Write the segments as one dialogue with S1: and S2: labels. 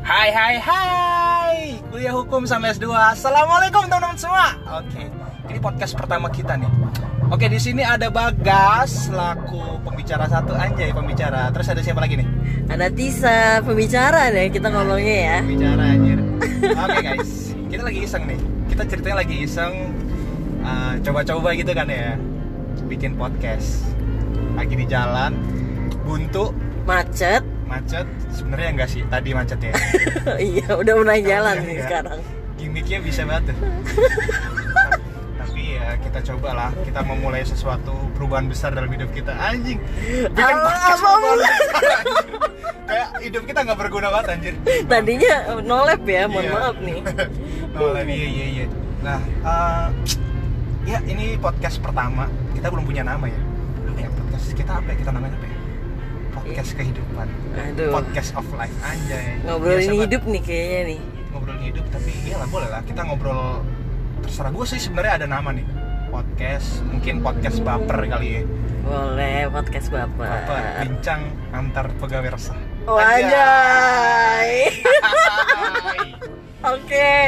S1: Hai hai hai Kuliah Hukum sama S2 Assalamualaikum teman-teman semua Oke Ini podcast pertama kita nih Oke di sini ada Bagas Selaku pembicara satu Anjay pembicara Terus ada siapa lagi nih?
S2: Ada Tisa pembicara deh kita ngomongnya ya.
S1: Bicara anjir. Oke guys, kita lagi iseng nih. Kita ceritanya lagi iseng uh, coba-coba gitu kan ya. Bikin podcast. Lagi di jalan, buntu,
S2: Macet.
S1: macet. Sebenarnya enggak sih tadi ya. macetnya.
S2: iya, udah mulai jalan
S1: Iya.
S2: nih sekarang.
S1: Gimiknya bisa banget. tuh. Tapi ya kita cobalah kita memulai sesuatu perubahan besar dalam hidup kita anjing kan bikin
S2: Allah,
S1: podcast
S2: apa
S1: perubahan besar, anjir. kayak hidup kita nggak berguna banget anjir
S2: Tadinya eh, nolep ya, mohon
S1: Iya.
S2: maaf nih.
S1: Oh, lagi iya iya iya. Nah, eh, ya ini podcast pertama. Kita belum punya nama ya. Apa ya podcast kita apa ya? Kita namanya apa ya? Podcast kehidupan.
S2: Iya. Aduh.
S1: Podcast of life anjay.
S2: Ngobrolin
S1: Biasa banget.
S2: hidup nih kayaknya nih.
S1: Ngobrolin hidup tapi iyalah boleh lah kita ngobrol terserah gue sih sebenarnya ada nama nih podcast mungkin podcast baper kali ya
S2: Boleh podcast
S1: apa
S2: Bapak.
S1: bincang antar pegawai resah
S2: Oh, Wajay.
S1: Anjay.
S2: Oke.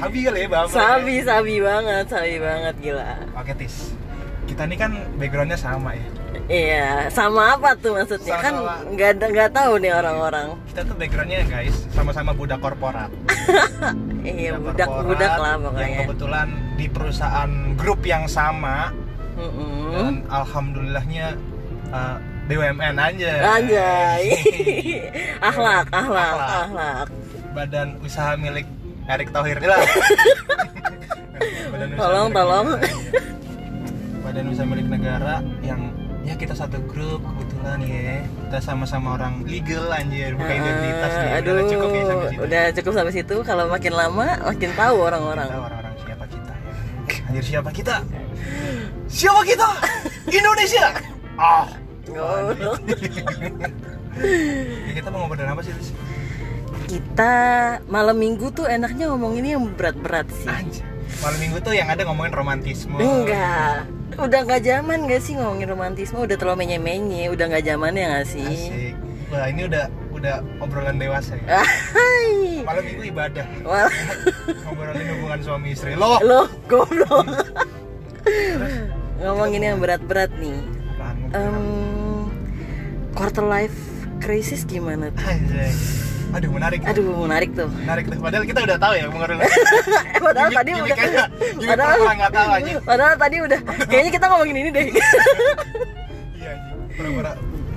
S1: sabi kali ya baper ya.
S2: Sabi sabi banget, sabi banget gila.
S1: Oke Tis, kita ini kan backgroundnya sama ya
S2: Iya, sama apa tuh maksudnya?
S1: Sama
S2: Kan
S1: apa?
S2: nggak ada- nggak tahu nih orang-orang.
S1: Kita tuh backgroundnya guys, sama-sama budak korporat
S2: Iya,
S1: Budak korporat
S2: budak-budak lah
S1: Yang
S2: pokoknya.
S1: kebetulan di perusahaan grup yang sama
S2: Mm-mm.
S1: Dan alhamdulillahnya uh, BUMN aja
S2: Anjay. akhlak, akhlak,
S1: Akhlak.
S2: akhlak.
S1: Badan usaha milik Erick Thohir lah Badan usaha
S2: Tolong,
S1: milik
S2: tolong.
S1: negara. Badan usaha milik negara yang ya kita satu grup kebetulan ya kita sama-sama orang legal anjir bukan identitas
S2: Ah,
S1: nih.
S2: aduh,
S1: udah cukup ya sampai situ
S2: udah cukup sampai situ. Kalau makin lama, makin tahu orang-orang.
S1: Kita orang-orang siapa kita ya? Anjir siapa kita? Siapa kita? Indonesia. Ah.
S2: Goblok.
S1: Ya, kita mau ngobrolin apa sih? Lis?
S2: Kita malam minggu tuh enaknya ngomongin yang berat-berat sih.
S1: Anjir. Malam minggu tuh yang ada ngomongin romantisme.
S2: Enggak, udah nggak zaman gak sih ngomongin romantisme? Udah terlalu menye-menye, udah nggak zamannya nggak sih?
S1: Asik. Wah, ini udah udah obrolan dewasa ya.
S2: Ahai.
S1: Malam minggu ibadah.
S2: Wah,
S1: Ngobrolin hubungan suami istri. Loh,
S2: lo goblok. ngomongin yang berat-berat nih.
S1: apaan?
S2: Em, quarter life crisis gimana? tuh?
S1: Anjay. Aduh, menarik.
S2: Aduh menarik tuh.
S1: Menarik tuh. Padahal kita udah tahu ya ngomongin.
S2: padahal
S1: Gimik-
S2: tadi
S1: gimik
S2: udah
S1: aja. Gimik orang-orang nggak tahu aja.
S2: padahal tadi udah kayaknya kita ngomongin ini deh
S1: Iya, anjir. Pura-pura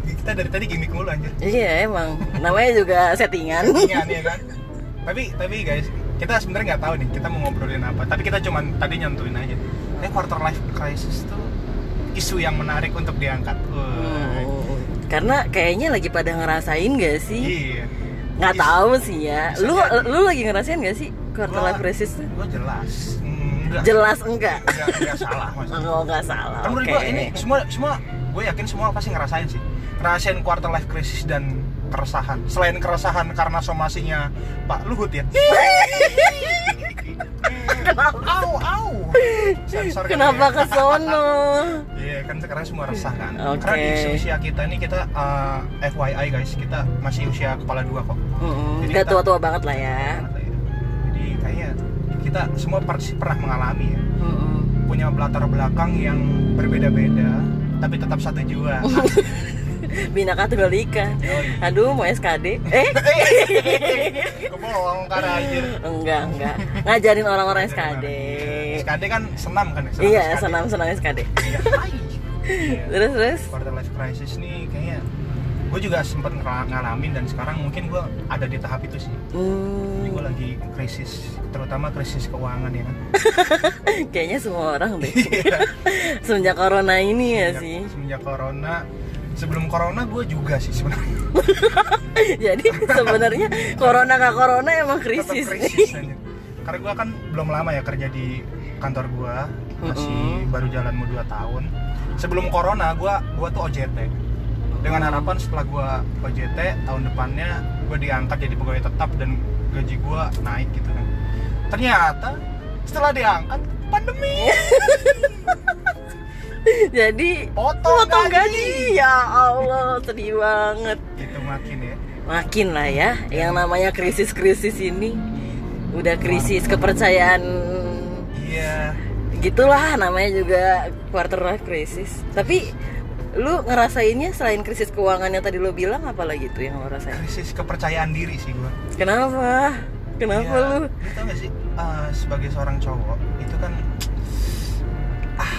S1: kita dari tadi gimmick mulu anjir.
S2: iya emang namanya juga settingan
S1: settingan ya kan tapi tapi guys kita sebenarnya nggak tahu nih kita mau ngobrolin apa tapi kita cuman tadi nyentuhin aja eh quarter life crisis tuh isu yang menarik untuk diangkat Wah,
S2: Hmm, karena kayaknya lagi pada ngerasain gak sih
S1: iya
S2: nggak tahu sih ya
S1: Bisa
S2: lu
S1: jadi.
S2: lu lagi ngerasain gak sih quarter life crisis tuh?
S1: gue jelas enggak
S2: jelas enggak
S1: enggak, enggak salah maksudnya
S2: oh nggak salah
S1: kan menurut
S2: oke.
S1: gue ini semua semua gue yakin semua pasti ngerasain sih ngerasain quarter life crisis dan keresahan selain keresahan karena somasinya Pak Luhut ya au au Sensor kan
S2: kenapa
S1: ya?
S2: ke sono
S1: Iya kan sekarang semua resah kan.
S2: Oke.
S1: Karena di usia kita ini kita uh, FYI guys kita masih usia kepala dua kok.
S2: Mm-mm,
S1: Jadi
S2: nggak
S1: kita-
S2: tua-tua banget lah ya
S1: Jadi kayaknya kita semua pers- pernah mengalami ya
S2: Mm-mm.
S1: punya latar belakang yang berbeda-beda tapi tetap satu jua.
S2: binaka tunggal ika
S1: Yoi.
S2: aduh mau SKD eh
S1: Kebolong karena anjir.
S2: enggak enggak ngajarin orang-orang SKD
S1: SKD kan senam kan ya?
S2: iya
S1: SKD.
S2: senam senam SKD
S1: Iya. Hai. Iya.
S2: terus terus
S1: quarter life crisis nih kayaknya gue juga sempet ngera- ngalamin dan sekarang mungkin gue ada di tahap itu sih jadi gue
S2: hmm,
S1: lagi krisis terutama krisis keuangan ya kan
S2: Hmm, kayaknya semua orang deh semenjak corona ini ya
S1: Iya. Semenjak-
S2: sih
S1: semenjak corona sebelum corona gue juga sih sebenarnya
S2: jadi sebenarnya corona nggak corona emang
S1: Tetap
S2: krisis
S1: krisis aja. karena gue kan belum lama ya kerja di kantor gue masih
S2: Mm-mm.
S1: baru jalan mau 2 tahun sebelum corona gue gua tuh OJT dengan harapan setelah gue OJT tahun depannya gue diangkat jadi pegawai tetap dan gaji gue naik gitu kan ternyata setelah diangkat pandemi
S2: jadi
S1: potong,
S2: potong
S1: gaji.
S2: gaji ya Allah sedih banget
S1: gitu makin ya
S2: makin lah ya yang namanya krisis-krisis ini udah krisis kepercayaan
S1: iya
S2: gitulah namanya juga quarter life crisis tapi lu ngerasainnya selain krisis keuangan yang tadi lu bilang apa lagi tuh yang lu rasain
S1: krisis kepercayaan diri sih gue
S2: kenapa kenapa
S1: Iya, lu
S2: lu
S1: tau gak sih eh, sebagai seorang cowok itu kan ah,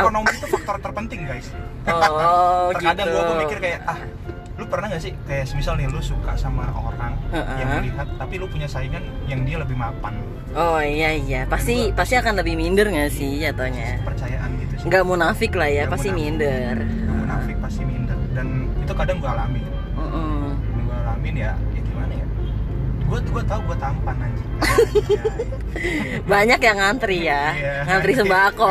S1: ekonomi itu faktor terpenting guys
S2: oh
S1: terkadang
S2: gitu
S1: gue mikir kayak ah lu pernah gak sih kayak semisal nih lu suka sama orang
S2: Heeh.
S1: yang melihat tapi lu punya saingan yang dia lebih mapan
S2: oh iya iya pasti pasti akan lebih minder nggak sih jatuhnya
S1: kepercayaan gitu sih
S2: Iya. nggak munafik lah ya
S1: Nggak
S2: pasti
S1: munafik.
S2: minder
S1: munafik pasti minder dan itu kadang gue alami
S2: Mm-mm.
S1: gue alamin ya ya gimana ya gue gue tau gue tampan anjir
S2: banyak yang ngantri ya
S1: Iya.
S2: ngantri sembako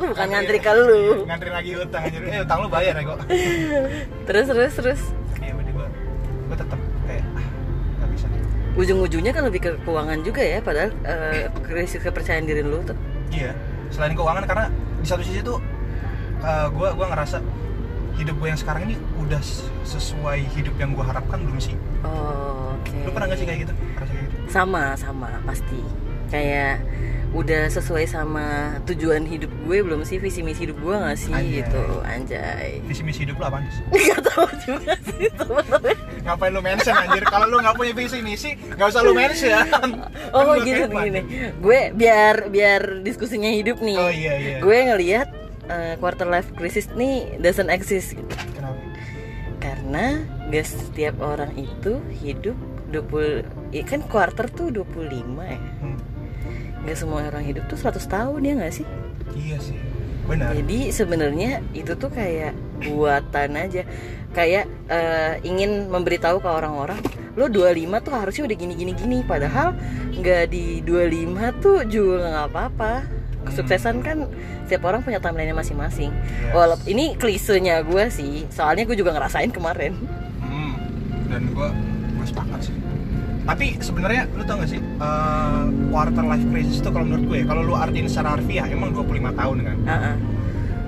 S2: bukan ngantri ke lu
S1: ya, ngantri lagi utang anjir eh utang lu bayar ya kok
S2: terus terus terus
S1: ya udah gue gue tetap kayak ah gak bisa nih
S2: ujung-ujungnya kan lebih ke keuangan juga ya padahal eh, krisis kepercayaan diri lu tuh
S1: iya selain keuangan karena di satu sisi tuh gue gua ngerasa hidup gue yang sekarang ini udah s- sesuai hidup yang gue harapkan belum sih
S2: oh, oke
S1: lu pernah gak sih kayak gitu ngerasa kayak gitu
S2: sama sama pasti kayak udah sesuai sama tujuan hidup gue belum sih visi misi hidup gue nggak sih
S1: Anjay.
S2: gitu anjay
S1: visi misi hidup lu apaan sih
S2: nggak tahu juga sih teman-teman
S1: ngapain lu mention anjir kalau lu nggak punya visi misi nggak usah lu mention Kan
S2: oh
S1: gua
S2: gitu
S1: kepo,
S2: gini
S1: anjir.
S2: gue biar biar diskusinya hidup nih
S1: oh iya iya
S2: gue ngelihat eh, quarter life crisis nih doesn't exist gitu.
S1: kenapa
S2: karena gak setiap orang itu hidup 20 ya kan quarter tuh 25 ya
S1: Hmm,
S2: gak semua orang hidup tuh 100 tahun ya gak sih
S1: iya sih benar
S2: jadi sebenarnya itu tuh kayak buatan aja kayak eh, ingin memberitahu ke orang-orang lo 25 tuh harusnya udah gini gini gini padahal nggak di 25 tuh juga nggak apa-apa kesuksesan kan setiap orang punya timelinenya masing-masing
S1: Yes.
S2: Walaupun ini klisenya gue sih, soalnya gue juga ngerasain kemarin.
S1: Hmm, dan gue gue sepakat sih. Tapi sebenarnya lu tau gak sih eh, quarter life crisis itu kalau menurut gue ya, kalau lu artiin secara harfiah emang 25 tahun kan.
S2: Heeh.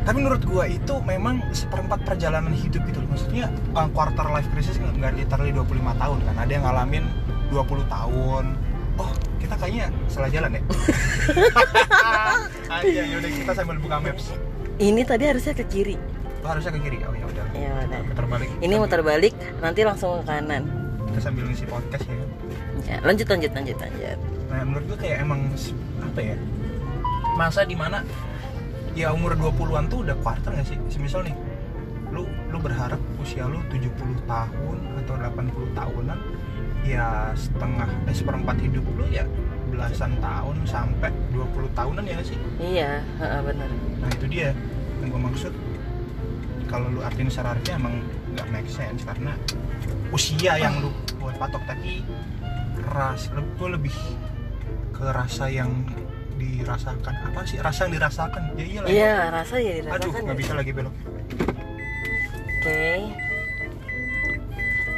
S1: Tapi menurut gue itu memang seperempat perjalanan hidup gitu loh. Maksudnya eh, quarter life crisis nggak nggak literally 25 tahun kan. Ada yang ngalamin 20 tahun. Oh, kita kayaknya salah jalan ya. Aja yaudah kita sambil buka maps.
S2: Ini tadi harusnya ke kiri.
S1: Lu harusnya ke kiri. Oh ya udah.
S2: Ya udah.
S1: Putar balik.
S2: Ini muter balik, nanti langsung ke kanan.
S1: Kita sambil ngisi podcast ya.
S2: Ya, lanjut lanjut lanjut lanjut.
S1: Nah, menurut gue kayak emang se- apa ya? Masa dimana ya umur 20-an tuh udah quarter gak sih? Semisal nih, lu lu berharap usia lu 70 tahun atau 80 tahunan ya setengah eh, seperempat hidup lu ya belasan tahun sampai 20 tahunan ya nggak sih?
S2: Iya, heeh, bener.
S1: Nah, itu dia yang gue maksud. Kalau lu artiin secara harfiah emang nggak make sense karena usia yang lu buat patok tapi ras gue lebih ke rasa yang dirasakan apa sih rasa yang dirasakan ya iyalah
S2: Iya, rasa ya dirasakan.
S1: aduh
S2: ya.
S1: nggak bisa lagi belok
S2: Oke.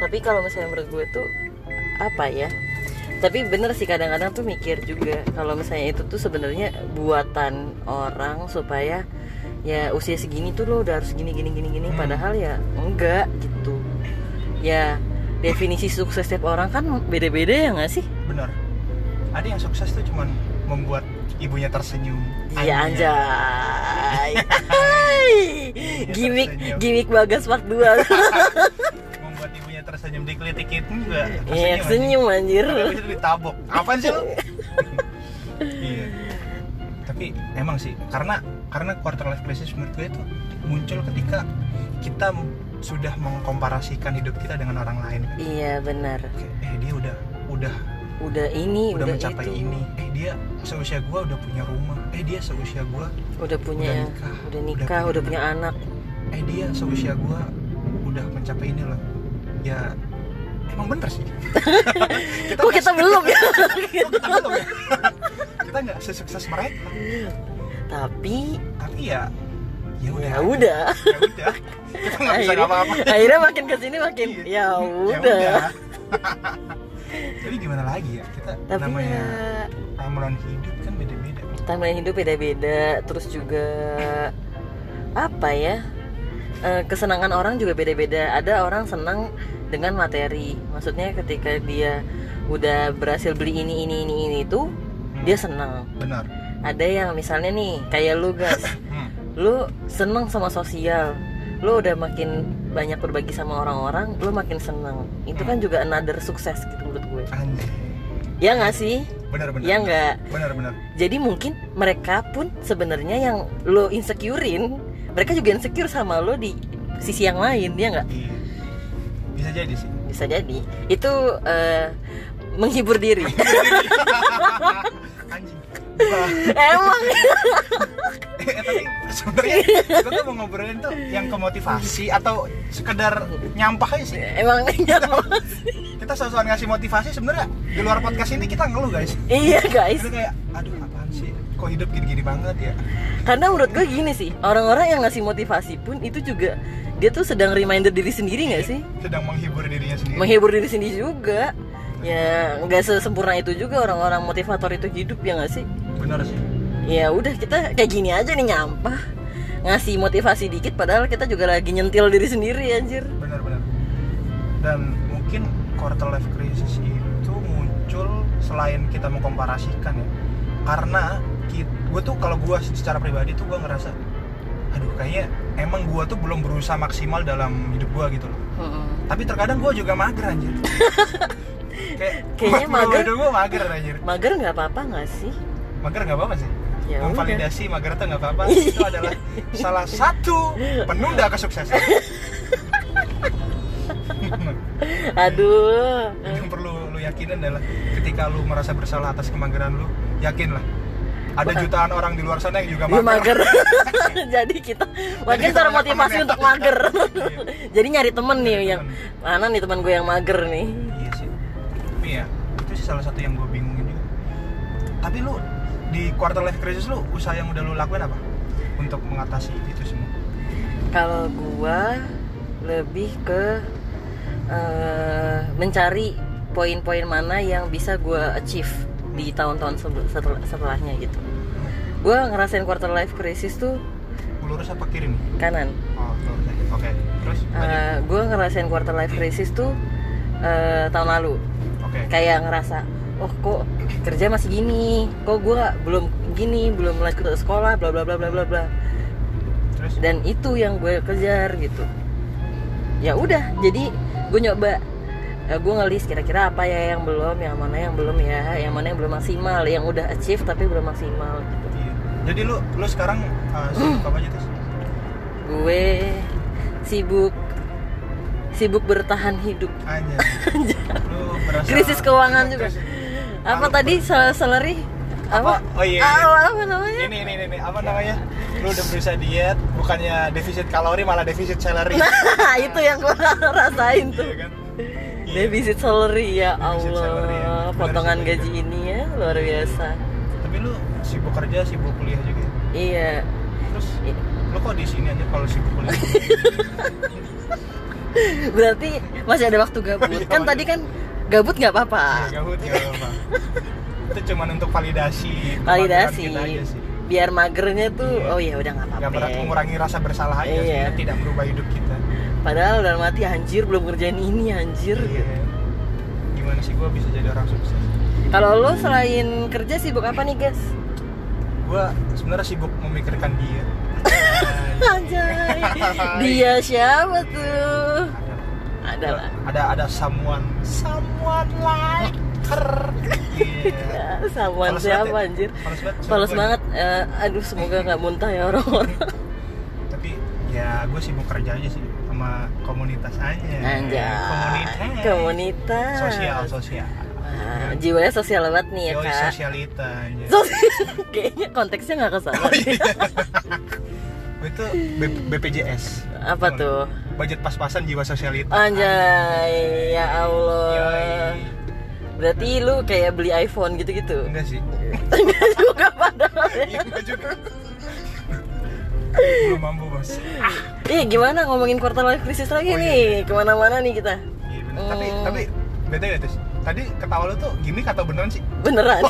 S2: Tapi kalau misalnya menurut gue tuh apa ya? Tapi bener sih kadang-kadang tuh mikir juga kalau misalnya itu tuh sebenarnya buatan orang supaya ya usia segini tuh lo udah harus gini gini gini gini
S1: Hmm.
S2: padahal ya enggak gitu. Ya definisi sukses tiap orang kan beda-beda ya nggak sih?
S1: bener ada yang sukses tuh cuman membuat ibunya tersenyum
S2: Iya
S1: Anjay.
S2: anjay. gimik
S1: tersenyum.
S2: gimik bagas part 2
S1: membuat ibunya tersenyum dikelitikin juga
S2: Iya
S1: tersenyum
S2: senyum anjir.
S1: Tapi abis itu ditabok. Apaan sih lu? iya. Tapi emang sih karena karena quarter life crisis menurut gue itu muncul ketika kita m- sudah mengkomparasikan hidup kita dengan orang lain. kan.
S2: Iya benar.
S1: Kayak, eh dia udah udah
S2: Udah ini,
S1: udah
S2: udah,
S1: mencapai
S2: itu,
S1: ini. Eh dia seusia gue udah punya rumah. Eh dia seusia gue.
S2: udah punya,
S1: Udah nikah.
S2: udah nikah,
S1: Udah
S2: udah punya anak.
S1: Eh dia seusia gue udah mencapai ini loh. Ya emang bener sih. kita
S2: Kok
S1: nggak-
S2: kita belum ya?
S1: kok kita belum ya? kita nggak sesukses mereka.
S2: Tapi
S1: tapi ya ya udah
S2: ya udah.
S1: ya udah kita nggak bisa
S2: Akhirnya,
S1: apa-apa
S2: akhirnya makin kesini makin
S1: Iya.
S2: ya udah.
S1: jadi gimana lagi ya kita
S2: Tapi
S1: namanya
S2: ya
S1: ramalan hidup kan beda-beda
S2: timeline hidup beda-beda. Terus juga apa ya? eh, kesenangan orang juga beda-beda. Ada orang senang dengan materi. Maksudnya ketika dia udah berhasil beli ini ini ini ini itu, dia
S1: Hmm.
S2: senang.
S1: benar
S2: Ada yang misalnya nih kayak lu guys,
S1: Hmm.
S2: lu seneng sama sosial lu udah makin banyak berbagi sama orang-orang lu makin seneng itu kan juga another sukses gitu menurut gue
S1: anjing
S2: ya nggak sih
S1: benar benar
S2: ya nggak
S1: benar benar
S2: jadi mungkin mereka pun sebenarnya yang lo insecurein mereka juga insecure sama lo di sisi yang lain ya nggak
S1: Iya. bisa jadi sih
S2: bisa jadi itu eh, menghibur diri
S1: anjing Wah.
S2: emang
S1: eh, tapi sebenarnya kita tuh mau ngobrolin tuh yang kemotivasi atau sekedar nyampah aja sih
S2: emang
S1: kita soal ngasih motivasi sebenarnya di luar podcast ini kita ngeluh guys
S2: iya guys
S1: itu kayak aduh apaan sih kok hidup gini-gini banget ya
S2: karena menurut gue gini sih orang-orang yang ngasih motivasi pun itu juga dia tuh sedang reminder diri sendiri nggak sih
S1: sedang menghibur dirinya sendiri
S2: menghibur diri sendiri juga ya nggak sesempurna itu juga orang-orang motivator itu hidup ya nggak sih
S1: benar sih
S2: ya udah kita kayak gini aja nih nyampah ngasih motivasi dikit padahal kita juga lagi nyentil diri sendiri anjir
S1: benar-benar dan mungkin quarter life crisis itu muncul selain kita mengkomparasikan ya karena gue tuh kalau gue secara pribadi tuh gue ngerasa aduh kayaknya emang gue tuh belum berusaha maksimal dalam hidup gue gitu loh
S2: Mm-mm.
S1: tapi terkadang gue juga mager anjir Kayak,
S2: Kayaknya
S1: gua-
S2: mager.
S1: aduh, gua mager anjir
S2: mager nggak apa-apa nggak sih
S1: mager nggak apa-apa sih
S2: ya udah
S1: memvalidasi mager tuh nggak apa-apa itu adalah salah satu penunda kesuksesan
S2: aduh
S1: yang perlu lu yakinin adalah ketika lu merasa bersalah atas kemageran lu yakinlah ada jutaan orang di luar sana yang juga mager
S2: dia Iya, mager jadi kita makin
S1: kita
S2: cara
S1: banyak
S2: motivasi
S1: temen ya.
S2: untuk mager
S1: Iya.
S2: jadi nyari temen nih
S1: Nyari
S2: yang mana nih teman gue yang mager nih
S1: iya sih tapi ya itu sih salah satu yang gue bingungin juga tapi lu di quarter life crisis lu usaha yang udah lu lakuin apa untuk mengatasi itu semua
S2: Kalau gua lebih ke eh, mencari poin-poin mana yang bisa gua achieve di tahun-tahun sebel- setel- setelahnya gitu. Gua ngerasain quarter life crisis tuh
S1: lu lurus apa kiri nih
S2: kanan.
S1: oh lurus aja. oke terus lanjut
S2: Eh, gua ngerasain quarter life crisis tuh eh, tahun lalu.
S1: oke
S2: Kayak ngerasa, oh kok kerja masih gini, kok gua belum gini, belum lanjut ke sekolah, bla bla bla bla bla bla.
S1: terus
S2: dan itu yang gue kejar gitu ya udah jadi gue nyoba Eh, gue ngelis kira-kira apa ya yang belum yang mana yang belum ya yang mana yang belum maksimal yang udah achieve tapi belum maksimal gitu
S1: Iya. jadi lu lu sekarang uh, sibuk apa aja terus
S2: gue sibuk sibuk bertahan hidup
S1: Anjir. lu berasa
S2: krisis keuangan juga apa
S1: Lalu
S2: tadi sal- salary apa
S1: Apa? Oh, iya,
S2: Ah,
S1: iya.
S2: apa, apa namanya
S1: ini ini ini, ini. apa namanya lu udah berusaha diet bukannya defisit kalori malah defisit salary
S2: nah itu yang gue rasain tuh
S1: Iya kan Iya.
S2: defisit salary ya
S1: Defisit salary, ya.
S2: Allah
S1: Benar
S2: potongan
S1: sih,
S2: gaji ini ya luar biasa
S1: tapi lu sibuk kerja sibuk kuliah juga ya?
S2: Iya.
S1: terus
S2: I-
S1: lu kok di sini aja kalau sibuk kuliah
S2: Berarti masih ada waktu gabut.
S1: Iya,
S2: kan
S1: masih.
S2: tadi kan gabut nggak apa-apa.
S1: gabut gak apa ya itu cuman untuk validasi kemageran
S2: Validasi.
S1: kita aja sih
S2: Biar magernya tuh
S1: Iya.
S2: oh ya udah nggak
S1: nggak
S2: apa-apa.
S1: berat mengurangi rasa bersalah aja
S2: Iya.
S1: sebenarnya tidak merubah hidup kita
S2: Padahal dalam hati anjir belum ngerjain ini anjir.
S1: Iya. gimana sih gua bisa jadi orang sukses
S2: Kalau lo selain kerja sibuk apa nih, guys?
S1: gua sebenarnya sibuk memikirkan dia
S2: Anjay. Dia siapa tuh?
S1: Ada
S2: Adalah.
S1: ada ada someone someone like her Iya.
S2: Ya, Samuan
S1: Fals
S2: siapa
S1: banget ya?
S2: anjir?
S1: Fals banget, sumpah
S2: Fals
S1: gua.
S2: banget. Eh, aduh semoga nggak muntah ya orang-orang.
S1: tapi ya gue sibuk kerja aja sih sama komunitas aja
S2: Anjay.
S1: Eh, komunitas
S2: Komunitas.
S1: sosial sosial
S2: Wah, jiwanya sosial banget nih ya
S1: Yoi,
S2: kak.
S1: sosialita anjay.
S2: Sosial. Kayaknya konteksnya nggak kesana.
S1: Oh,
S2: deh.
S1: iya. Gua itu B- BPJS
S2: Apa tuh?
S1: budget pas-pasan jiwa sosialita
S2: Anjay, ya Allah.
S1: Yoi.
S2: Berarti lu kayak beli iPhone gitu-gitu.
S1: enggak sih
S2: Enggak juga padahal.
S1: Iya, enggak juga belum mampu bos Iya,
S2: Ih, gimana ngomongin quarter life crisis lagi
S1: Oh,
S2: nih? Kemana-mana nih kita?
S1: Iya, bener. tapi
S2: Hmm.
S1: tapi beda ya terus tadi ketawa lu tuh gimmick atau beneran sih Oh, iya.
S2: Beneran.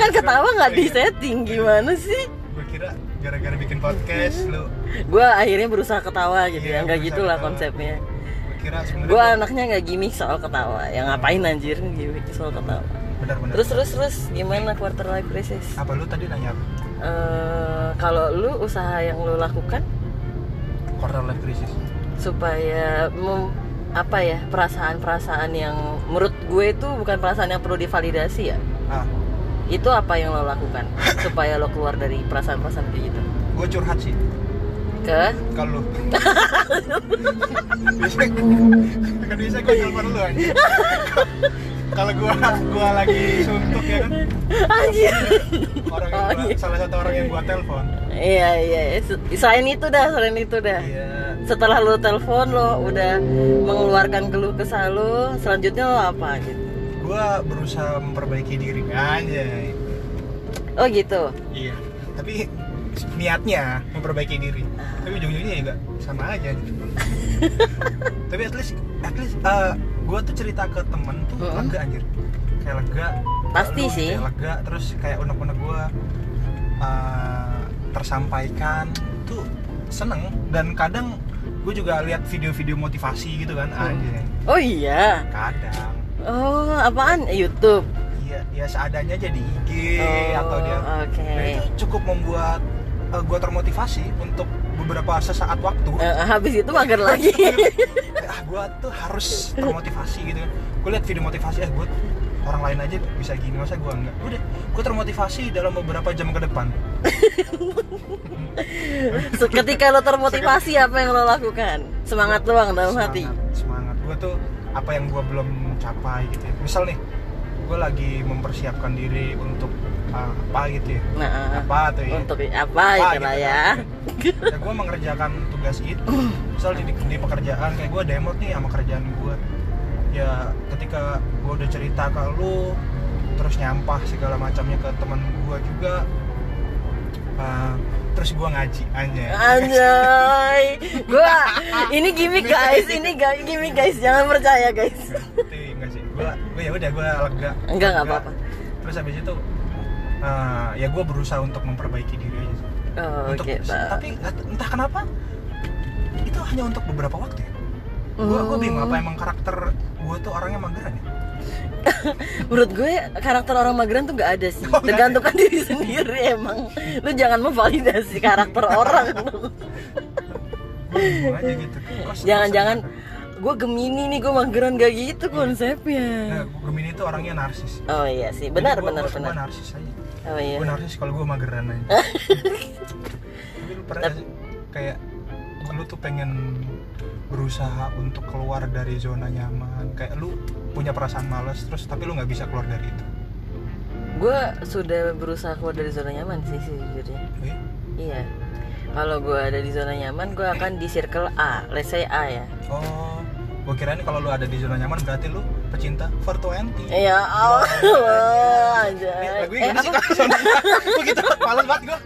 S2: kan ketawa nggak di setting gimana sih?
S1: gue kira gara-gara bikin podcast lu
S2: gue akhirnya berusaha ketawa gitu
S1: Iya,
S2: ya nggak
S1: berusaha
S2: gitulah
S1: ketawa.
S2: konsepnya
S1: gua kira sebenarnya
S2: gue anaknya nggak gimmick soal ketawa ya ngapain anjir gimmick soal ketawa
S1: benar-benar
S2: terus terus terus gimana quarter life crisis
S1: apa lu tadi nanya apa?
S2: Eh, kalau lu usaha yang lu lakukan
S1: quarter life crisis
S2: supaya mem- apa ya perasaan-perasaan yang menurut gue itu bukan perasaan yang perlu divalidasi ya
S1: ah
S2: itu apa yang lo lakukan supaya lo keluar dari perasaan-perasaan kayak gitu
S1: gue curhat sih
S2: ke
S1: kalau lu biasanya kan biasanya gue telepon lu aja kalau gua gua lagi suntuk ya kan
S2: anjir
S1: orang yang gua, salah satu orang yang gua telepon
S2: iya iya iya. selain itu dah selain itu dah
S1: iya
S2: setelah lo telepon lo udah mengeluarkan keluh kesah lo selanjutnya lo apa gitu
S1: gua berusaha memperbaiki diri aja
S2: oh gitu
S1: iya tapi niatnya memperbaiki diri tapi ujung-ujungnya juga sama aja gitu tapi at least at least eh, gua tuh cerita ke temen tuh
S2: Mm-mm.
S1: lega anjir kayak lega
S2: Pasti
S1: Lalu
S2: sih.
S1: kayak lega terus kayak unek-unek gua eh, tersampaikan tuh seneng dan kadang gue juga lihat video-video motivasi gitu kan anjir
S2: oh iya
S1: kadang
S2: oh apaan YouTube
S1: Iya, ya seadanya aja di IG
S2: Oh,
S1: atau dia.
S2: oke.
S1: Nah, itu cukup membuat eh, gua termotivasi untuk beberapa sesaat waktu.
S2: Eh, habis itu mager lagi
S1: ah, gua tuh harus termotivasi gitu kan. Gua lihat video motivasi eh gua orang lain aja bisa gini masa gua enggak. Udah, gua termotivasi dalam beberapa jam ke depan.
S2: ketika lo termotivasi apa yang lo lakukan semangat doang dalam hati
S1: Semangat, Semangat. Gua tuh apa yang gua belum capai gitu ya. Misal nih, gua lagi mempersiapkan diri untuk ah, apa gitu ya.
S2: nah
S1: Apa tuh ya?
S2: untuk apa
S1: Ah,
S2: itu lah
S1: gitu
S2: ya
S1: kan. ya gue mengerjakan tugas itu misal di, di pekerjaan kayak gue demot nih sama kerjaan gue ya ketika gue udah cerita ke lu terus nyampah segala macamnya ke teman gue juga eh, terus gue ngaji aja
S2: Ah. anjay gua ini gimmick guys ini ga- gimmick guys jangan percaya guys
S1: enggak sih gue gue ya udah gue lega
S2: enggak enggak
S1: Lega.
S2: apa-apa
S1: terus habis itu eh, ya gue berusaha untuk memperbaiki diri aja sih.
S2: oh
S1: untuk,
S2: gitu
S1: tapi entah kenapa itu hanya untuk beberapa waktu ya gue gue bingung
S2: Oh.
S1: apa emang karakter gue tuh orangnya mageran ya
S2: menurut gue karakter orang mageran tuh nggak ada sih
S1: Oh, nggak ada.
S2: tergantungkan diri sendiri emang lu jangan memvalidasi karakter orang lu.
S1: Gua bingung aja gitu Kok se-
S2: jangan-jangan
S1: se-
S2: gue gemini nih gue mageran gak gitu konsepnya
S1: nah, gua Gemini itu orangnya narsis
S2: oh iya sih
S1: Jadi
S2: benar
S1: gua-
S2: benar
S1: gua-
S2: benar
S1: gua narsis aja
S2: oh iya
S1: gue narsis kalau gue mageran aja tapi lu pernah nggak sih, kayak lu tuh pengen berusaha untuk keluar dari zona nyaman kayak lu punya perasaan malas terus tapi lu nggak bisa keluar dari itu
S2: gue sudah berusaha keluar dari zona nyaman sih sejujurnya
S1: Oke?
S2: iya kalau gue ada di zona nyaman gue akan di circle A let's say A ya
S1: oh gue kirain kalau lu ada di zona nyaman berarti lu pecinta 420
S2: ya Allah aja
S1: Ini lagu
S2: eh
S1: Inggris sih
S2: apa
S1: kak soalnya Gue gitu malas banget gue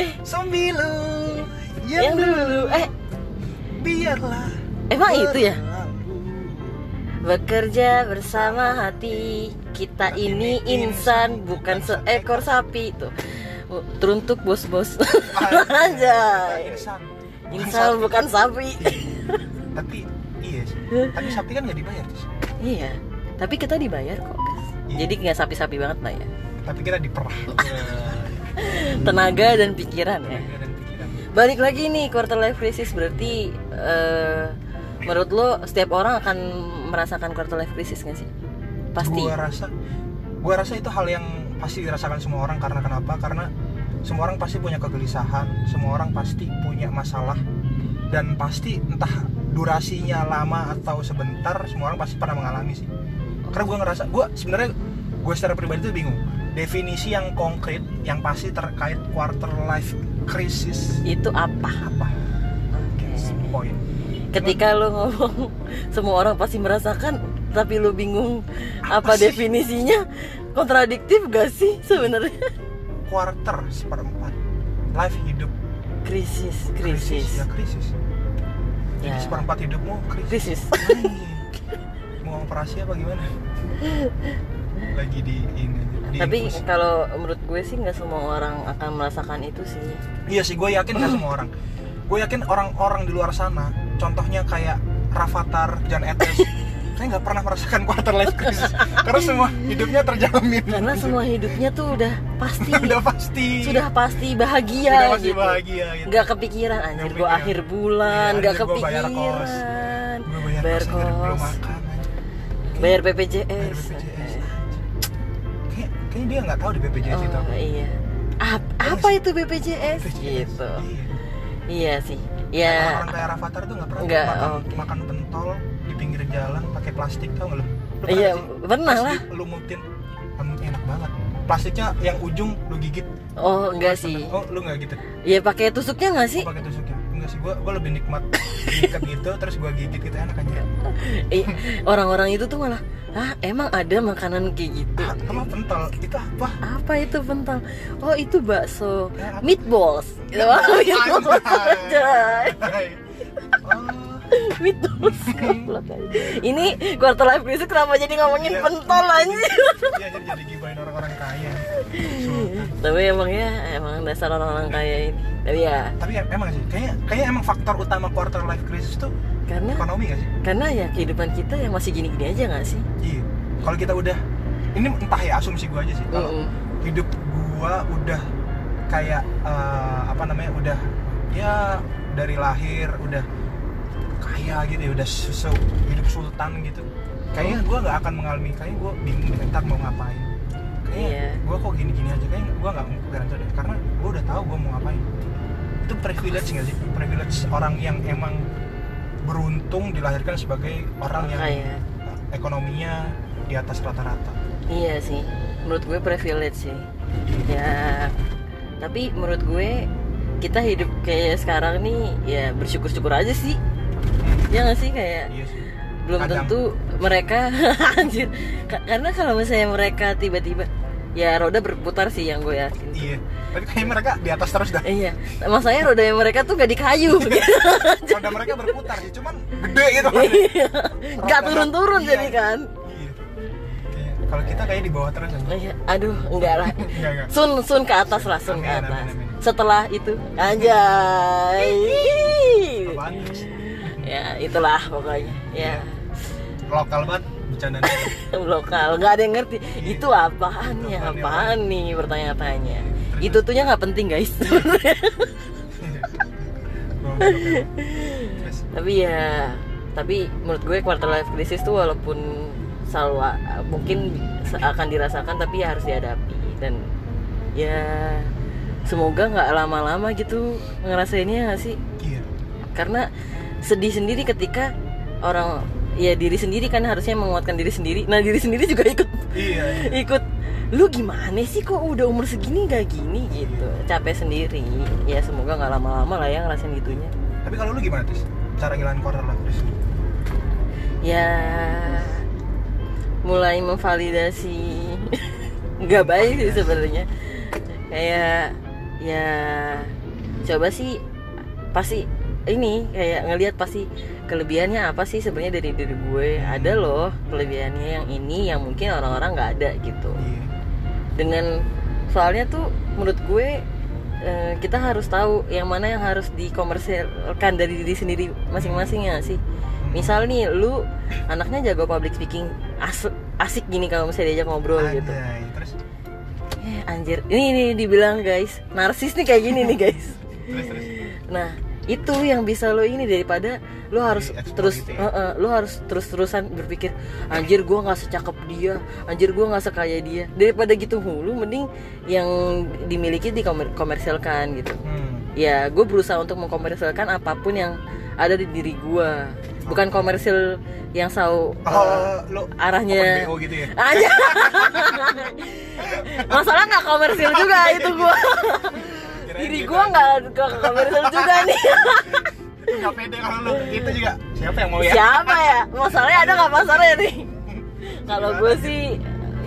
S2: Eh.
S1: Sembilu Yang
S2: yang dulu eh
S1: ya biarlah
S2: emang itu ya
S1: berlalu.
S2: Bekerja bersama hati Kita ini insan bukan seekor sapi itu Teruntuk bos-bos aja
S1: Insan Bukan
S2: Insan
S1: sapi.
S2: bukan sapi
S1: Tapi iya sih Tapi sapi kan gak dibayar sih
S2: Iya Tapi kita dibayar kok guys
S1: Iya.
S2: Jadi nggak sapi-sapi banget lah ya
S1: Tapi kita diperah Hmm.
S2: Tenaga dan pikiran ya
S1: Tenaga Iya, dan pikiran.
S2: Balik lagi nih quarter life crisis Berarti eh, Menurut lo setiap orang akan merasakan quarter life crisis nggak sih? Pasti
S1: Gua rasa Gua rasa itu hal yang pasti dirasakan semua orang Karena kenapa? Karena semua orang pasti punya kegelisahan Semua orang pasti punya masalah Dan pasti entah durasinya lama atau sebentar Semua orang pasti pernah mengalami sih karena gue ngerasa gue sebenarnya gue secara pribadi tuh bingung definisi yang konkret yang pasti terkait quarter life crisis
S2: Itu apa?
S1: apa
S2: Oke.
S1: poin
S2: ketika lo ngomong semua orang pasti merasakan tapi lo bingung
S1: Apa
S2: apa,
S1: sih?
S2: definisinya kontradiktif gak sih sebenarnya
S1: quarter seperempat life hidup
S2: krisis krisis
S1: krisis ya krisis
S2: ya
S1: jadi seperempat hidupmu krisis
S2: krisis
S1: Anjing. mau operasi apa gimana lagi di ini aja. di
S2: tapi
S1: infus.
S2: kalau menurut gue sih nggak semua orang akan merasakan itu sih
S1: iya sih gue yakin nggak semua orang gue yakin orang-orang di luar sana contohnya kayak Rafathar Jan Etes kayak nggak pernah merasakan quarter life crisis karena semua hidupnya terjamin
S2: karena semua hidupnya tuh udah pasti
S1: udah pasti
S2: sudah pasti bahagia
S1: Iya. Sudah pasti
S2: gitu.
S1: bahagia gitu
S2: nggak kepikiran anjir
S1: Nggak
S2: gue
S1: kepikiran.
S2: akhir bulan
S1: Iya,
S2: nggak
S1: anjir, gua bayar
S2: kepikiran
S1: kos. gue bayar,
S2: Bayar
S1: kosan dari belum
S2: kos.
S1: makan anjir.
S2: bayar
S1: Bayar
S2: BPJS,
S1: BPJS Kayak- kayaknya dia nggak tahu di BPJS itu
S2: oh
S1: apa
S2: iya Ap-
S1: Terus.
S2: apa itu BPJS
S1: BPJS.
S2: gitu
S1: Iya.
S2: iya sih
S1: Kayak
S2: ya
S1: orang kayak Rafathar tuh nggak pernah
S2: Nggak, oh,
S1: makan,
S2: oke.
S1: makan pentol di pinggir jalan pakai plastik tau nggak lu? Lu pernah
S2: iya
S1: nggak sih?
S2: pernah
S1: Pas
S2: lah
S1: dilumutin, "Em, enak banget plastiknya yang ujung lu gigit
S2: oh enggak sih
S1: oh lu nggak gitu
S2: ya pakai tusuknya nggak sih
S1: Gua pakai tusuknya enggak sih gua gua lebih nikmat diikat gitu terus gua gigit gitu enak aja
S2: Eh, orang-orang itu tuh malah ah emang ada makanan kayak gitu
S1: ah, sama pentol itu apa
S2: apa itu pentol oh itu bakso
S1: Ya, apa?
S2: meatballs
S1: Ya,
S2: Gitu, wah, meatballs aja
S1: Anjay. Oh,
S2: meatballs goblok aja. ini quarter life crisis kenapa jadi ngomongin
S1: Ya.
S2: pentol anjir
S1: Oh, Iya, jadi jadi gibahin orang-orang kaya. Sultan.
S2: tapi emang ya emang dasar orang-orang kaya ini tapi ya
S1: Tapi ya, emang sih, kayaknya kayaknya emang faktor utama quarter life crisis tuh
S2: karena
S1: ekonomi gak sih?
S2: karena ya kehidupan kita yang masih gini-gini aja nggak sih
S1: Iya. Kalau kita udah ini entah ya asumsi gua aja sih. Kalau
S2: Mm-mm.
S1: hidup gua udah kayak eh, apa namanya udah ya dari lahir udah kaya gitu ya udah sesu, hidup sultan gitu kayaknya gua nggak akan mengalami kayaknya gua bingung deh ntar mau ngapain kayaknya
S2: Iya.
S1: gua kok gini-gini aja kayaknya gua nggak garansi deh karena gua udah tahu gua mau ngapain itu privilege nggak sih privilege orang yang emang beruntung dilahirkan sebagai orang yang
S2: kaya
S1: ekonominya di atas rata-rata
S2: iya sih menurut gue privilege sih ya tapi menurut gue kita hidup kayak sekarang nih ya bersyukur-syukur aja sih ya nggak sih kayak
S1: iya sih
S2: belum
S1: Kadang.
S2: tentu mereka anjir Ka- karena kalau misalnya mereka tiba-tiba ya roda berputar sih yang gue yakin
S1: Iya. Tapi kayaknya mereka di atas terus dah.
S2: iya masalahnya roda mereka tuh gak di kayu
S1: Roda mereka berputar sih, cuman gede gitu. kan.
S2: Iya. nggak turun-turun
S1: Iya.
S2: jadi kan
S1: Iya. Kayaknya. Kalau kita kayaknya di bawah terus. kan. aja.
S2: Iya, aduh enggak lah
S1: Enggak enggak.
S2: sun sun ke atas lah sun ke
S1: Amin, amin,
S2: atas
S1: amin.
S2: setelah itu anjay
S1: Apaan?
S2: ya itulah pokoknya ya
S1: Lokal banget bercandaan.
S2: lokal nggak ada yang ngerti itu apaan
S1: Itu Iya.
S2: ya
S1: apaan ya,
S2: apaan nih bertanya-tanya
S1: iya, Terus?
S2: itu tuhnya nggak penting guys
S1: Goblok, goblok. ya. Terus,
S2: tapi ya tapi menurut gue quarter life crisis tuh walaupun selalu a- mungkin se- akan dirasakan tapi ya harus dihadapi dan ya semoga nggak lama-lama gitu ngerasainnya nggak sih
S1: Iya.
S2: karena sedih sendiri ketika orang ya diri sendiri kan harusnya menguatkan diri sendiri nah diri sendiri juga ikut
S1: Iya. iya.
S2: ikut lu gimana sih kok udah umur segini gak gini gitu capek sendiri ya semoga nggak lama-lama lah ya ngerasain gitunya
S1: Tapi kalau lu gimana, Tis? Cara ngilangin quarter life crisis?
S2: ya mulai memvalidasi nggak baik sih sebenarnya kayak ya coba sih pasti ini kayak ngelihat pasti kelebihannya apa sih sebenarnya dari diri gue ada loh kelebihannya yang ini yang mungkin orang-orang nggak ada gitu
S1: Iya.
S2: dengan soalnya tuh menurut gue eh, kita harus tahu yang mana yang harus dikomersilkan dari diri sendiri masing-masing ya nggak sih misal nih lu anaknya jago public speaking as- asik gini kalau misalnya diajak ngobrol gitu
S1: Anjay. Terus,
S2: eh, anjir ini ini dibilang guys narsis nih kayak gini nih guys
S1: terus, terus.
S2: nah itu yang bisa lo ini daripada lo harus
S1: Di-explore
S2: terus
S1: gitu ya.
S2: eh, eh, lo harus terus terusan berpikir anjir gua nggak secakep dia anjir gua nggak sekaya dia daripada gitu mulu mending yang dimiliki dikomersilkan gitu
S1: Hmm.
S2: ya gue berusaha untuk mengkomersilkan apapun yang ada di diri gue bukan komersil yang sau eh,
S1: Oh, lu
S2: arahnya-
S1: open BO gitu ya?
S2: aja masalah nggak komersil juga itu gue
S1: Kirain
S2: diri
S1: gitu.
S2: gue nggak nggak komersil juga nih
S1: Gak pede kalau lu itu juga siapa yang mau ya
S2: siapa ya masalahnya ada nggak pasarnya nih kalau gue sih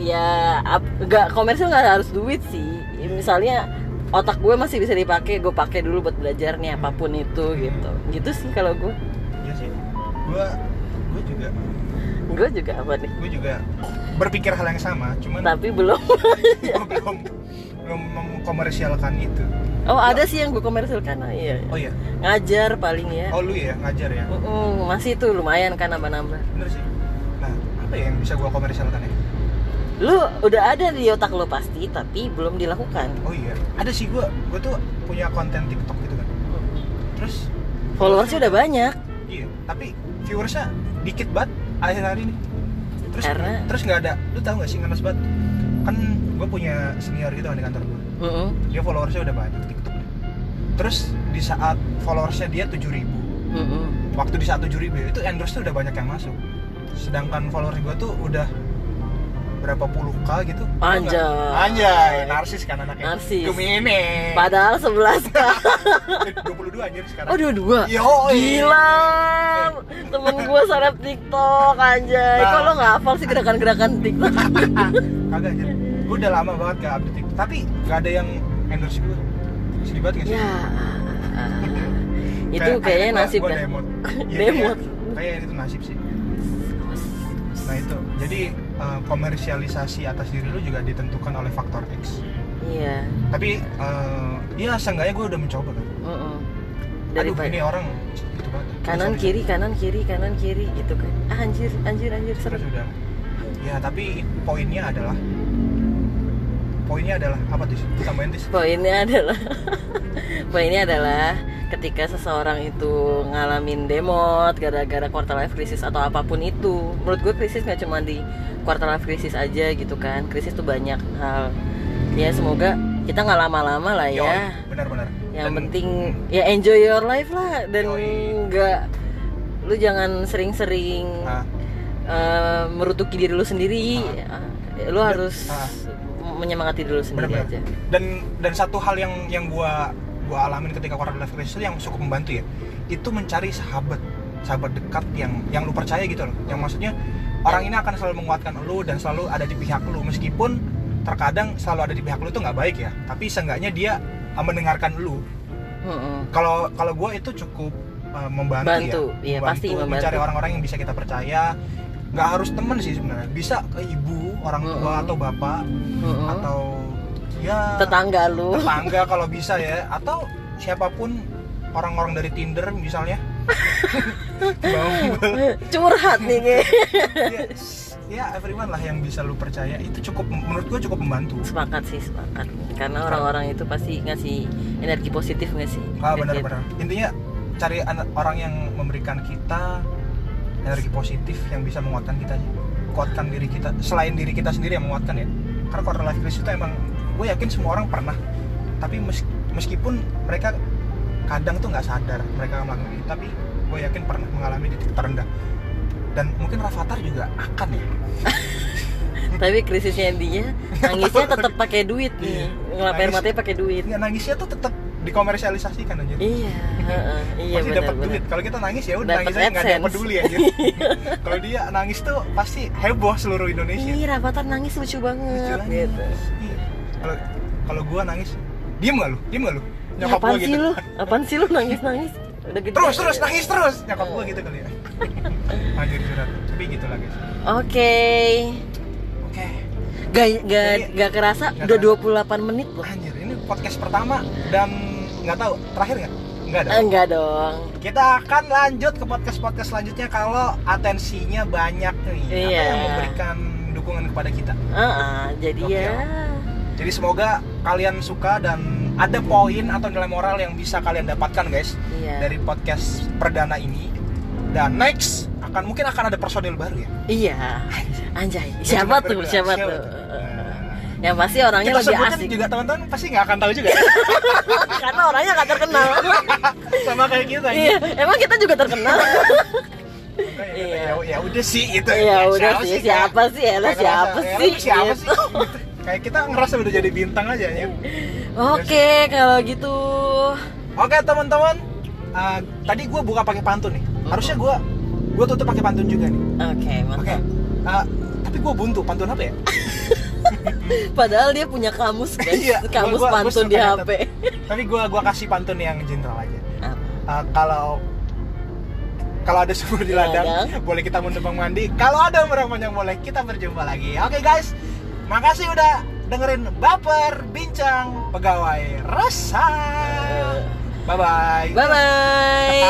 S2: ya ap- nggak komersil nggak harus duit sih misalnya otak gue masih bisa dipakai gue pakai dulu buat belajar nih apapun itu gitu gitu sih kalau gue
S1: Iya sih gua gua juga
S2: gue juga apa nih
S1: gue juga berpikir hal yang sama cuman
S2: tapi belum
S1: gue belum belum mengkomersialkan itu
S2: oh ada sih yang gue komersilkan oh, iya
S1: oh iya
S2: ngajar paling ya
S1: oh lu ya ngajar ya
S2: Mm-mm, masih tuh lumayan kan nambah-nambah
S1: bener sih nah apa ya yang bisa gue komersialkan ya
S2: lu udah ada di otak lo pasti tapi belum dilakukan
S1: oh iya ada sih gue gue tuh punya konten tiktok gitu kan terus
S2: followersnya udah banyak
S1: Iya, tapi viewersnya dikit banget akhir-akhir ini. Terus
S2: Karena-
S1: terus nggak ada. Lu tahu nggak sih ngenes banget? Kan gue punya senior gitu kan di kantor gue.
S2: Mm-mm.
S1: Dia followersnya udah banyak TikTok. Terus di saat followersnya dia 7000
S2: Mm-mm.
S1: waktu di saat 7000 itu endorse tuh udah banyak yang masuk. Sedangkan followers gue tuh udah berapa puluh k gitu. Tau nggak?
S2: Anjay.
S1: Anjay, narsis kan anaknya.
S2: Narsis.
S1: Gemini. Eh,
S2: padahal 11 kali
S1: 22 anjir sekarang.
S2: oh dua-dua
S1: Yoi.
S2: Gila, temen gue sarap TikTok anjay.
S1: Nah.
S2: Kok lo nggak hafal sih gerakan-gerakan TikTok?
S1: kagak anjir gue udah lama banget gak update TikTok tapi gak ada yang endorse gue sedih banget gak sih
S2: ya, itu
S1: Kayak
S2: kayaknya
S1: akhirnya gua-
S2: nasib
S1: gua
S2: kan.
S1: demot Iya,
S2: Demot.
S1: kayak- kayak itu nasib sih nah itu jadi eh, komersialisasi atas diri lu juga ditentukan oleh faktor X
S2: Iya.
S1: tapi eh, ya seenggaknya gue udah mencoba kan
S2: mm-mm.
S1: aduh
S2: Daripada
S1: ini orang gitu banget
S2: kanan
S1: Bisa-
S2: kiri kanan kiri kanan kiri gitu kan. Ah, anjir anjir anjir seru.
S1: terus udah ya tapi poinnya adalah poinnya adalah apa tuh Tis? tambahin tuh
S2: Poinnya adalah poinnya adalah ketika seseorang itu ngalamin demot gara-gara quarter life crisis atau apapun itu menurut gue krisis nggak cuma di quarter life crisis aja gitu kan krisis tuh banyak hal ya semoga kita nggak lama-lama lah ya
S1: benar-benar
S2: yang
S1: Dan-
S2: penting ya enjoy your life lah dan
S1: Yoi.
S2: nggak lu jangan sering-sering
S1: Nah,
S2: eh, merutuki diri lu sendiri Eh, lu harus
S1: Ah.
S2: menyemangati diri lu sendiri
S1: Bener-bener.
S2: aja
S1: dan dan satu hal yang yang gua gua alamin ketika quarter life crisis yang cukup membantu ya itu mencari sahabat sahabat dekat yang yang lu percaya gitu loh yang maksudnya orang ini akan selalu menguatkan lu dan selalu ada di pihak lu meskipun terkadang selalu ada di pihak lu itu nggak baik ya tapi seenggaknya dia eh, mendengarkan lu
S2: Mm-mm.
S1: kalau kalau gue itu cukup eh, membantu
S2: Bantu,
S1: ya
S2: iya, pasti membantu.
S1: mencari orang-orang yang bisa kita percaya nggak harus temen sih sebenarnya bisa ke ibu orang tua
S2: Mm-mm.
S1: atau bapak
S2: Mm-mm.
S1: atau ya
S2: Oh. tetangga lu
S1: tetangga kalau bisa ya atau siapapun orang-orang dari Tinder misalnya Bumble.
S2: curhat nih Ge.
S1: ya, s- ya everyone lah yang bisa lu percaya itu cukup menurut gua cukup membantu
S2: sepakat sih sepakat karena orang-orang itu pasti ngasih energi positif nggak sih
S1: ah
S2: Gitu.
S1: benar-benar intinya cari anak- orang yang memberikan kita energi positif yang bisa menguatkan kita sih. kuatkan diri kita selain diri kita sendiri yang menguatkan ya karena quarter life crisis itu emang gue yakin semua orang pernah tapi mes- meskipun mereka kadang tuh nggak sadar mereka melakukan itu tapi gue yakin pernah mengalami titik terendah dan mungkin Rafathar juga akan ya
S2: tapi krisisnya intinya nangisnya tetap pakai duit nih
S1: Iya.
S2: ngelapir
S1: Nangis- Iya.
S2: matanya pakai duit
S1: Nggak, nangisnya tuh tetap dikomersialisasikan aja
S2: iya heeh, iya
S1: pasti dapat duit
S2: benar-benar
S1: kalau kita nangis ya udah
S2: Dapet
S1: nangisnya nggak ada yang
S2: AdSense. Iya.
S1: peduli aja kalau dia nangis tuh pasti heboh seluruh Indonesia
S2: Ih, Rafathar nangis lucu banget
S1: ya? Lucu
S2: Iya, gitu.
S1: Iya. kalau kalau gua nangis diem gak lu diem gak lu nyokap
S2: Iya, apaan
S1: gua
S2: sih
S1: gitu
S2: lu? Apaan sih lu nangis-nangis? Udah gede.
S1: terus terus nangis terus nyokap gua
S2: Oh.
S1: gitu kali ya anjir curhat tapi gitu lah guys
S2: Oke.
S1: oke
S2: Gak, gak,
S1: Jadi-
S2: gak kerasa
S1: Gak
S2: udah 28 menit loh.
S1: anjir ini podcast pertama dan nggak tahu terakhir nggak nggak ada
S2: Enggak dong.
S1: kita akan lanjut ke podcast-podcast selanjutnya kalau atensinya banyak nih
S2: Iya.
S1: apa yang memberikan dukungan kepada kita
S2: Heeh, jadi
S1: Oke,
S2: ya.
S1: Jadi semoga kalian suka dan ada poin atau nilai moral yang bisa kalian dapatkan guys
S2: Iya.
S1: dari podcast perdana ini. Dan next akan mungkin akan ada personil baru ya.
S2: Iya. Anjay.
S1: Cuma
S2: Siapa tuh?
S1: berdua.
S2: Siapa tuh?
S1: Nah,
S2: Yang pasti orangnya
S1: Kita
S2: lebih
S1: sebutin
S2: asik.
S1: juga teman-teman pasti nggak akan tahu juga
S2: Karena orangnya gak terkenal.
S1: sama kayak kita. gitu.
S2: iya, emang kita juga terkenal.
S1: Kayak
S2: Iya.
S1: kita, Ya, ya udah sih itu.
S2: Iya, udah sih.
S1: ya?
S2: Siapa sih? Ella siapa sih?
S1: Siapa sih?
S2: Gitu.
S1: Gitu. Kayak kita ngerasa udah jadi bintang aja ya.
S2: Oke, kalau gitu.
S1: Oke teman-teman, eh, tadi gue buka pakai pantun nih. Harusnya gue gue tutup pakai pantun juga nih.
S2: Oke,
S1: Oke.
S2: mantap.
S1: Eh, tapi gue buntu pantun apa ya?
S2: Padahal dia punya kamus guys,
S1: Iya,
S2: kamus
S1: gua- gua
S2: pantun
S1: suka gitu.
S2: di
S1: nyatet.
S2: HP.
S1: Tapi gue gua kasih pantun yang general aja.
S2: Apa?
S1: Eh, kalau Eh, kalau ada sumur di ladang, boleh kita menumpang mandi. Kalau ada orang panjang boleh kita berjumpa lagi. Oke guys, makasih udah dengerin baper bincang pegawai resah. Bye bye.
S2: Bye bye.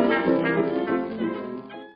S1: Bye.